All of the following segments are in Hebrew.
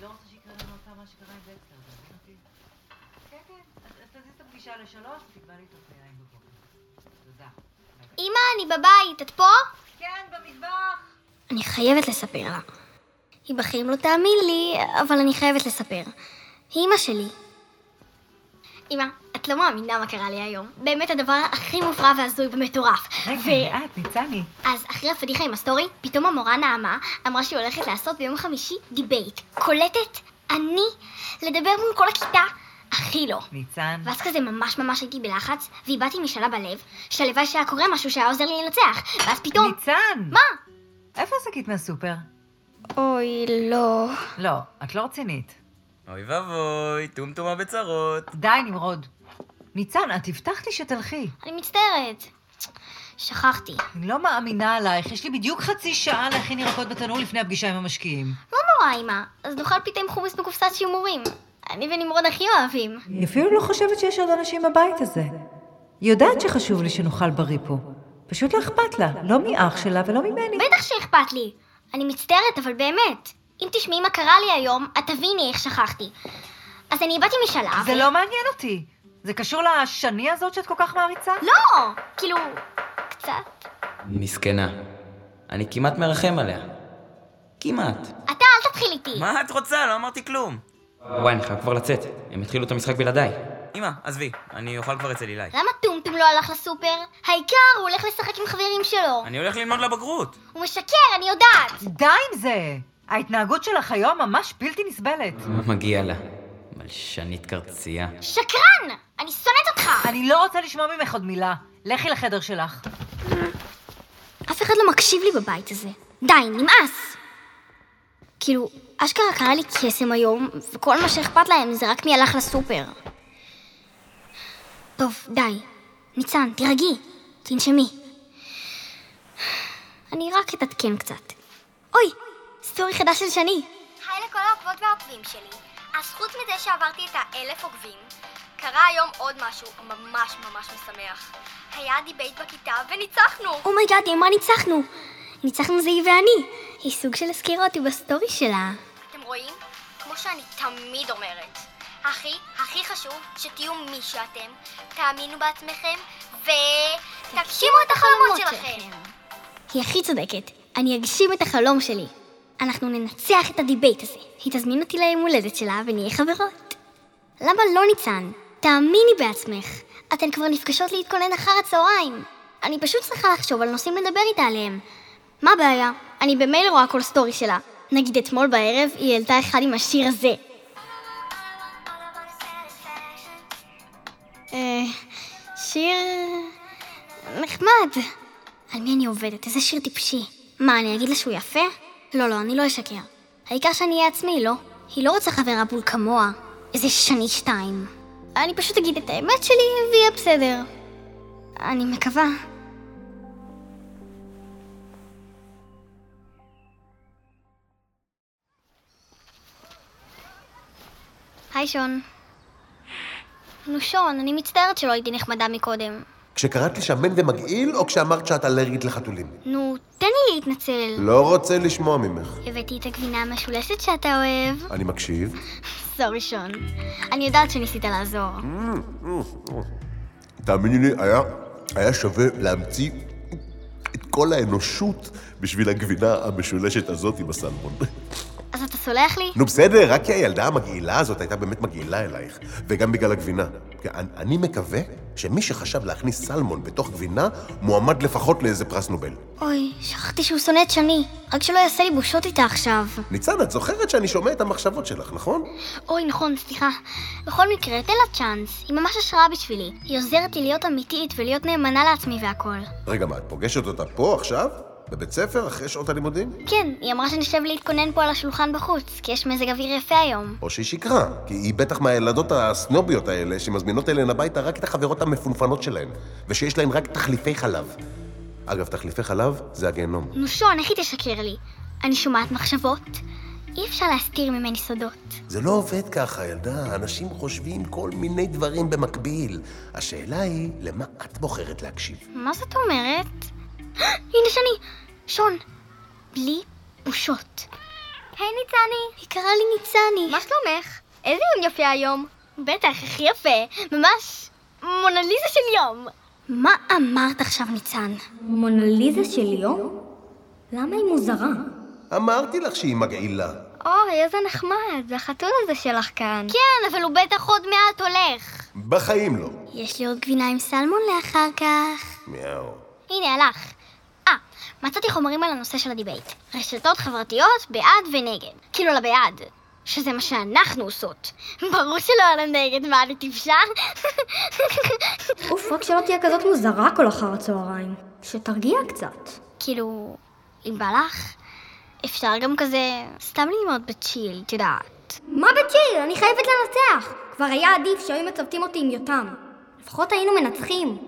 לא לה מה שקרה עם דקסטר, אתה מבין אותי? כן, כן, אז אז תזיז את הפגישה לשלוש ותקבע לי את הפנייה בבוקר. תודה. ביי. אמא, אני בבית, את פה? כן, במטבח! אני חייבת לספר לה. היא בחיים לא תאמין לי, אבל אני חייבת לספר. היא אמא שלי. אמא, את לא מאמינה מה קרה לי היום. באמת הדבר הכי מופרע והזוי ומטורף. רגע, את, ניצני. אז אחרי הפדיחה עם הסטורי, פתאום המורה נעמה אמרה שהיא הולכת לעשות ביום חמישי דיבייט. קולטת? אני? לדבר מול כל הכיתה? הכי לא. ניצן. ואז כזה ממש ממש הייתי בלחץ, ואיבדתי משאלה בלב, שהלוואי שהיה קורה משהו שהיה עוזר לי לנצח. ואז פתאום... ניצן! מה? איפה השקית מהסופר? אוי, לא. לא, את לא רצינית. אוי ואבוי, טומטומה בצרות. די, נמרוד. ניצן, את הבטחת לי שתלכי. אני מצטערת. שכחתי. אני לא מאמינה עלייך, יש לי בדיוק חצי שעה להכין ירקות בתנור לפני הפגישה עם המשקיעים. לא נורא, אמא. אז נאכל פיתה עם חומוס בקופסת שימורים. אני ונמרוד הכי אוהבים. היא אפילו לא חושבת שיש עוד אנשים בבית הזה. היא יודעת שחשוב לי שנאכל בריא פה. פשוט לא אכפת לה, לא מאח שלה ולא ממני. בטח שאכפת לי. אני מצטערת, אבל באמת. אם תשמעי מה קרה לי היום, את תביני איך שכחתי. אז אני איבדתי משלב. זה לא מעניין אותי. זה קשור לשני הזאת שאת כל כך מעריצה? לא! כאילו, קצת. מסכנה. אני כמעט מרחם עליה. כמעט. אתה, אל תתחיל איתי. מה את רוצה? לא אמרתי כלום. וואי, אני חייב כבר לצאת. הם התחילו את המשחק בלעדיי. אמא, עזבי, אני אוכל כבר אצל אילי. למה טומטום לא הלך לסופר? העיקר, הוא הולך לשחק עם חברים שלו. אני הולך ללמוד לבגרות. הוא משקר, אני יודעת. די עם זה! ההתנהגות שלך היום ממש בלתי נסבלת. מגיע לה. מלשנית קרצייה. שקרן! אני שונאת אותך! אני לא רוצה לשמוע ממך עוד מילה. לכי לחדר שלך. אף אחד לא מקשיב לי בבית הזה. די, נמאס! כאילו, אשכרה קרה לי קסם היום, וכל מה שאכפת להם זה רק מי הלך לסופר. טוב, די. ניצן, תירגעי. תנשמי. אני רק אתעדכן קצת. אוי, סטורי חדש של שני. היי לכל העוקבות והעוקבים שלי. אז חוץ מזה שעברתי את האלף עוקבים, קרה היום עוד משהו ממש ממש משמח. היה דיבייט בכיתה וניצחנו! אומייגאד, עם מה ניצחנו? ניצחנו זה היא ואני. היא סוג של הזכירה אותי בסטורי שלה. אתם רואים? כמו שאני תמיד אומרת. הכי, הכי חשוב שתהיו מי שאתם, תאמינו בעצמכם, ותגשימו את החלומות שלכם. היא הכי צודקת. אני אגשים את החלום שלי. אנחנו ננצח את הדיבייט הזה. היא תזמין אותי ליום הולדת שלה ונהיה חברות. למה לא ניצן? תאמיני בעצמך. אתן כבר נפגשות להתכונן אחר הצהריים. אני פשוט צריכה לחשוב על נושאים לדבר איתה עליהם. מה הבעיה? אני במילא רואה כל סטורי שלה. נגיד אתמול בערב היא העלתה אחד עם השיר הזה. אה, שיר... נחמד. על מי אני עובדת? איזה שיר טיפשי. מה, אני אגיד לה שהוא יפה? לא, לא, אני לא אשקר. העיקר שאני אהיה עצמי, לא? היא לא רוצה חברה בול כמוה. איזה שני שתיים. אני פשוט אגיד את האמת שלי ויהיה בסדר. אני מקווה. היי שון. נו שון, אני מצטערת שלא הייתי נחמדה מקודם. כשקראת לי שמן ומגעיל, או כשאמרת שאת אלרגית לחתולים? נו, תן לי להתנצל. לא רוצה לשמוע ממך. הבאתי את הגבינה המשולשת שאתה אוהב. אני מקשיב. סורי שון. אני יודעת שניסית לעזור. תאמיני לי, היה, היה שווה להמציא את כל האנושות בשביל הגבינה המשולשת הזאת עם הסלמון. אז אתה סולח לי? נו בסדר, רק כי הילדה המגעילה הזאת הייתה באמת מגעילה אלייך, וגם בגלל הגבינה. כי אני- אני מקווה שמי שחשב להכניס סלמון בתוך גבינה, מועמד לפחות לאיזה פרס נובל. אוי, שכחתי שהוא שונא את שני. רק שלא יעשה לי בושות איתה עכשיו. ניצן, את זוכרת שאני שומע את המחשבות שלך, נכון? אוי, נכון, סליחה. בכל מקרה, תן לה צ'אנס. היא ממש השראה בשבילי. היא עוזרת לי להיות אמיתית ולהיות נאמנה לעצמי והכל. רגע, מה, את פוגשת אותה פה עכשיו? בבית ספר, אחרי שעות הלימודים? כן, היא אמרה שנשב להתכונן פה על השולחן בחוץ, כי יש מזג אוויר יפה היום. או שהיא שיקרה, כי היא בטח מהילדות הסנוביות האלה שמזמינות אליהן הביתה רק את החברות המפונפנות שלהן, ושיש להן רק תחליפי חלב. אגב, תחליפי חלב זה הגיהנום. נו שון, איך היא תשקר לי? אני שומעת מחשבות. אי אפשר להסתיר ממני סודות. זה לא עובד ככה, ילדה. אנשים חושבים כל מיני דברים במקביל. השאלה היא, למה את בוחרת להקשיב? מה זאת אומרת? הנה שני! שון, בלי בושות. היי ניצני. היא קראה לי ניצני. מה שלומך? איזה יום יפה היום. בטח, הכי יפה. ממש מונליזה של יום. מה אמרת עכשיו, ניצן? מונליזה של יום? למה היא מוזרה? אמרתי לך שהיא מגעילה. אוי, איזה נחמד, החתול הזה שלך כאן. כן, אבל הוא בטח עוד מעט הולך. בחיים לא. יש לי עוד גבינה עם סלמון לאחר כך. מיהו. הנה, הלך. אה, מצאתי חומרים על הנושא של הדיבייט. רשתות חברתיות בעד ונגד. כאילו לבעד. שזה מה שאנחנו עושות. ברור שלא על הנגד, מה, אני טיפשה? אוף, רק שלא תהיה כזאת מוזרה כל אחר הצהריים. שתרגיע קצת. כאילו, אם בא לך, אפשר גם כזה סתם ללמוד בצ'יל, את יודעת. מה בצ'יל? אני חייבת לנצח! כבר היה עדיף שהיו מצוותים אותי עם יותם. לפחות היינו מנצחים.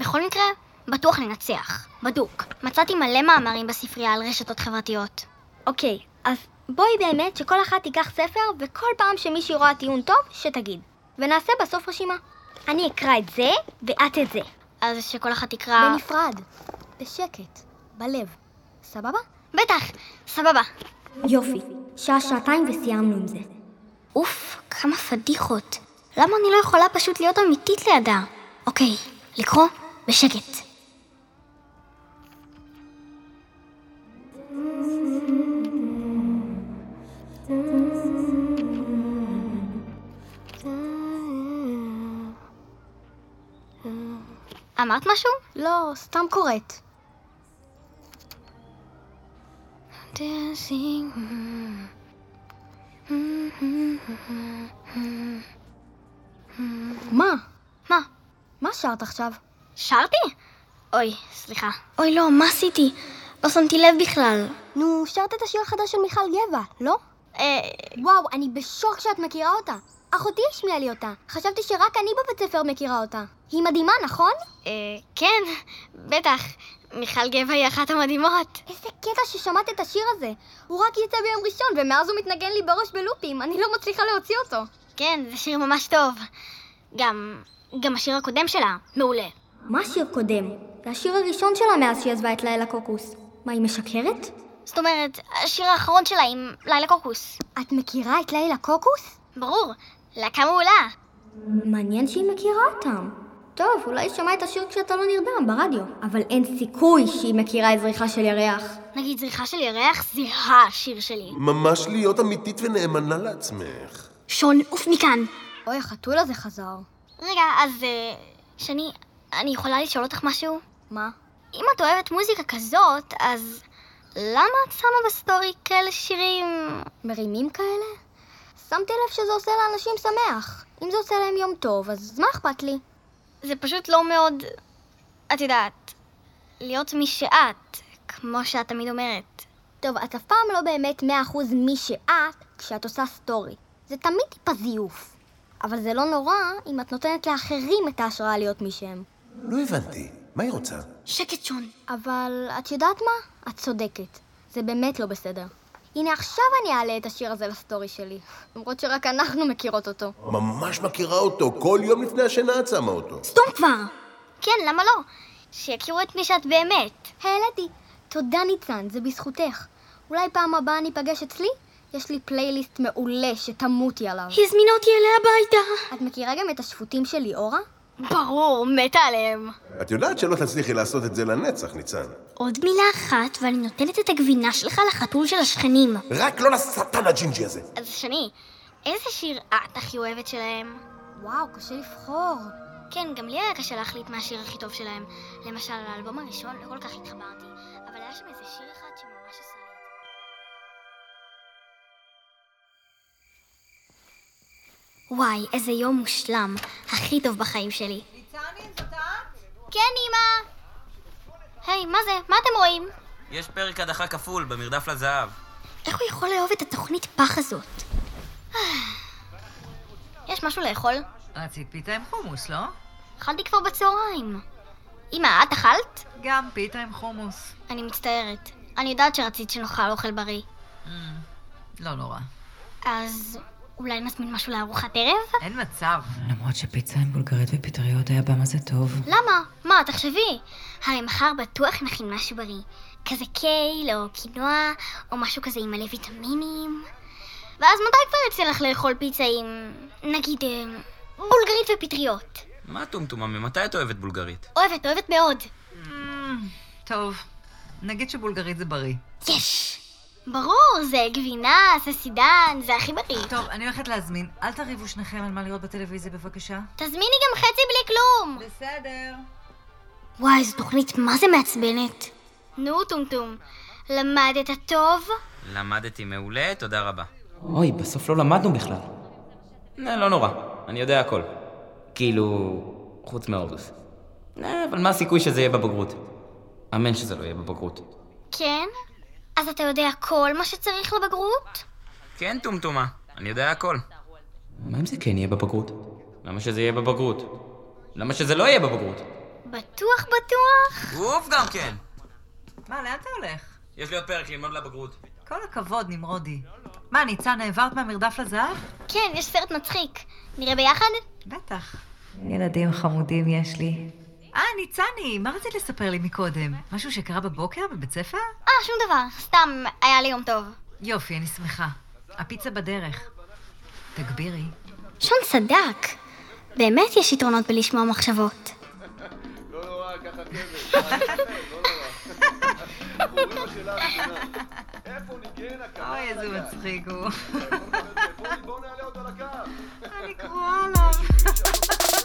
בכל מקרה, בטוח ננצח. בדוק. מצאתי מלא מאמרים בספרייה על רשתות חברתיות. אוקיי, אז בואי באמת שכל אחת תיקח ספר, וכל פעם שמישהי רואה טיעון טוב, שתגיד. ונעשה בסוף רשימה. אני אקרא את זה, אה? ואת את זה. אז שכל אחת אה. תקרא... בנפרד. בשקט. בלב. סבבה? בטח, סבבה. יופי, שעה-שעתיים וסיימנו עם זה. אוף, כמה פדיחות. למה אני לא יכולה פשוט להיות אמיתית לידה? אוקיי, לקרוא בשקט. אמרת משהו? לא, סתם קוראת. dancing. מה? מה? מה שרת עכשיו? שרתי? אוי, סליחה. אוי, לא, מה עשיתי? לא שמתי לב בכלל. נו, שרת את השיר החדש של מיכל גבע, לא? אה, וואו, אני בשוק שאת מכירה אותה. אחותי השמיעה לי אותה. חשבתי שרק אני בבית ספר מכירה אותה. היא מדהימה, נכון? אה, כן, בטח. מיכל גבע היא אחת המדהימות. איזה קטע ששמעת את השיר הזה. הוא רק יצא ביום ראשון, ומאז הוא מתנגן לי בראש בלופים. אני לא מצליחה להוציא אותו. כן, זה שיר ממש טוב. גם, גם השיר הקודם שלה, מעולה. מה השיר קודם? זה השיר הראשון שלה מאז שהיא עזבה את לילה קוקוס. מה, היא משקרת? זאת אומרת, השיר האחרון שלה עם לילה קוקוס. את מכירה את לילה קוקוס? ברור, להקה מעולה. מעניין שהיא מכירה אותם. טוב, אולי היא שמעה את השיר כשאתה לא נרדם, ברדיו. אבל אין סיכוי שהיא מכירה את זריחה של ירח. נגיד זריחה של ירח זה השיר שלי. ממש להיות אמיתית ונאמנה לעצמך. שון, עוף מכאן. אוי, החתול הזה חזר. רגע, אז אה, שני, אני יכולה לשאול אותך משהו? מה? אם את אוהבת מוזיקה כזאת, אז למה את שמה בסטורי כאלה שירים? מרימים כאלה? שמתי לב שזה עושה לאנשים שמח. אם זה עושה להם יום טוב, אז מה אכפת לי? זה פשוט לא מאוד, את יודעת, להיות מי שאת, כמו שאת תמיד אומרת. טוב, את אף פעם לא באמת 100% מי שאת כשאת עושה סטורי. זה תמיד טיפה זיוף. אבל זה לא נורא אם את נותנת לאחרים את ההשראה להיות מי שהם. לא הבנתי. מה היא רוצה? שקט, שון. אבל את יודעת מה? את צודקת. זה באמת לא בסדר. הנה עכשיו אני אעלה את השיר הזה לסטורי שלי. למרות שרק אנחנו מכירות אותו. ממש מכירה אותו. כל יום לפני השינה את שמה אותו. סתום כבר! כן, למה לא? שיכירו את מי שאת באמת. העליתי. תודה ניצן, זה בזכותך. אולי פעם הבאה ניפגש אצלי? יש לי פלייליסט מעולה שתמותי עליו. היא הזמינה אותי אליה הביתה. את מכירה גם את השפוטים של ליאורה? ברור, מתה עליהם. את יודעת שלא תצליחי לעשות את זה לנצח, ניצן. עוד מילה אחת, ואני נותנת את הגבינה שלך לחתול של השכנים. רק לא לשטן הג'ינג'י הזה. אז שני, איזה שיר את הכי אוהבת שלהם? וואו, קשה לבחור. כן, גם לי היה קשה להחליט מה השיר הכי טוב שלהם. למשל, לאלבום הראשון לא כל כך התחברתי, אבל היה שם איזה שיר אחד שממש עשה לי... את זה. וואי, איזה יום מושלם. הכי טוב בחיים שלי. כן, אמא! היי, מה זה? מה אתם רואים? יש פרק הדחה כפול במרדף לזהב. איך הוא יכול לאהוב את התוכנית פח הזאת? יש משהו לאכול? רצית פיתה עם חומוס, לא? אכלתי כבר בצהריים. אמא, את אכלת? גם פיתה עם חומוס. אני מצטערת. לא אני יודעת שרצית שנאכל אוכל בריא. לא נורא. אז אולי נזמין משהו לארוחת ערב? אין מצב. למרות שפיצה עם בולגרית ופטריות היה במה זה טוב. למה? מה, תחשבי. הרי מחר בטוח נכין משהו בריא. כזה קייל, או קינוע, או משהו כזה עם מלא ויטמינים. ואז מתי כבר יצא לך לאכול פיצה עם, נגיד, אה, בולגרית ופטריות? מה טומטומה? ממתי את אוהבת בולגרית? אוהבת, אוהבת מאוד. טוב, נגיד שבולגרית זה בריא. יש! ברור, זה גבינה, זה סידן, זה הכי בריא. טוב, אני הולכת להזמין. אל תריבו שניכם על מה לראות בטלוויזיה בבקשה. תזמיני גם חצי בלי כלום! בסדר. וואי, זו תוכנית מה זה מעצבנת. נו, טומטום, למדת טוב? למדתי מעולה, תודה רבה. אוי, בסוף לא למדנו בכלל. אה, לא נורא, אני יודע הכל. כאילו, חוץ מהאורדוס. אה, אבל מה הסיכוי שזה יהיה בבגרות? אמן שזה לא יהיה בבגרות. כן? אז אתה יודע כל מה שצריך לבגרות? כן, טומטומה, אני יודע הכל. מה אם זה כן יהיה בבגרות? למה שזה יהיה בבגרות? למה שזה לא יהיה בבגרות? בטוח בטוח? אוף גם כן! מה, לאן אתה הולך? יש לי עוד פרק ללמוד לבגרות. כל הכבוד, נמרודי. מה, ניצן, העברת מהמרדף לזהב? כן, יש סרט מצחיק. נראה ביחד? בטח. ילדים חמודים יש לי. אה, ניצני, מה רצית לספר לי מקודם? משהו שקרה בבוקר בבית ספר? אה, שום דבר, סתם, היה לי יום טוב. יופי, אני שמחה. הפיצה בדרך. תגבירי. שון צדק. באמת יש יתרונות בלשמוע מחשבות. אוי, איזה מצחיק הוא. אני קרואה עליו.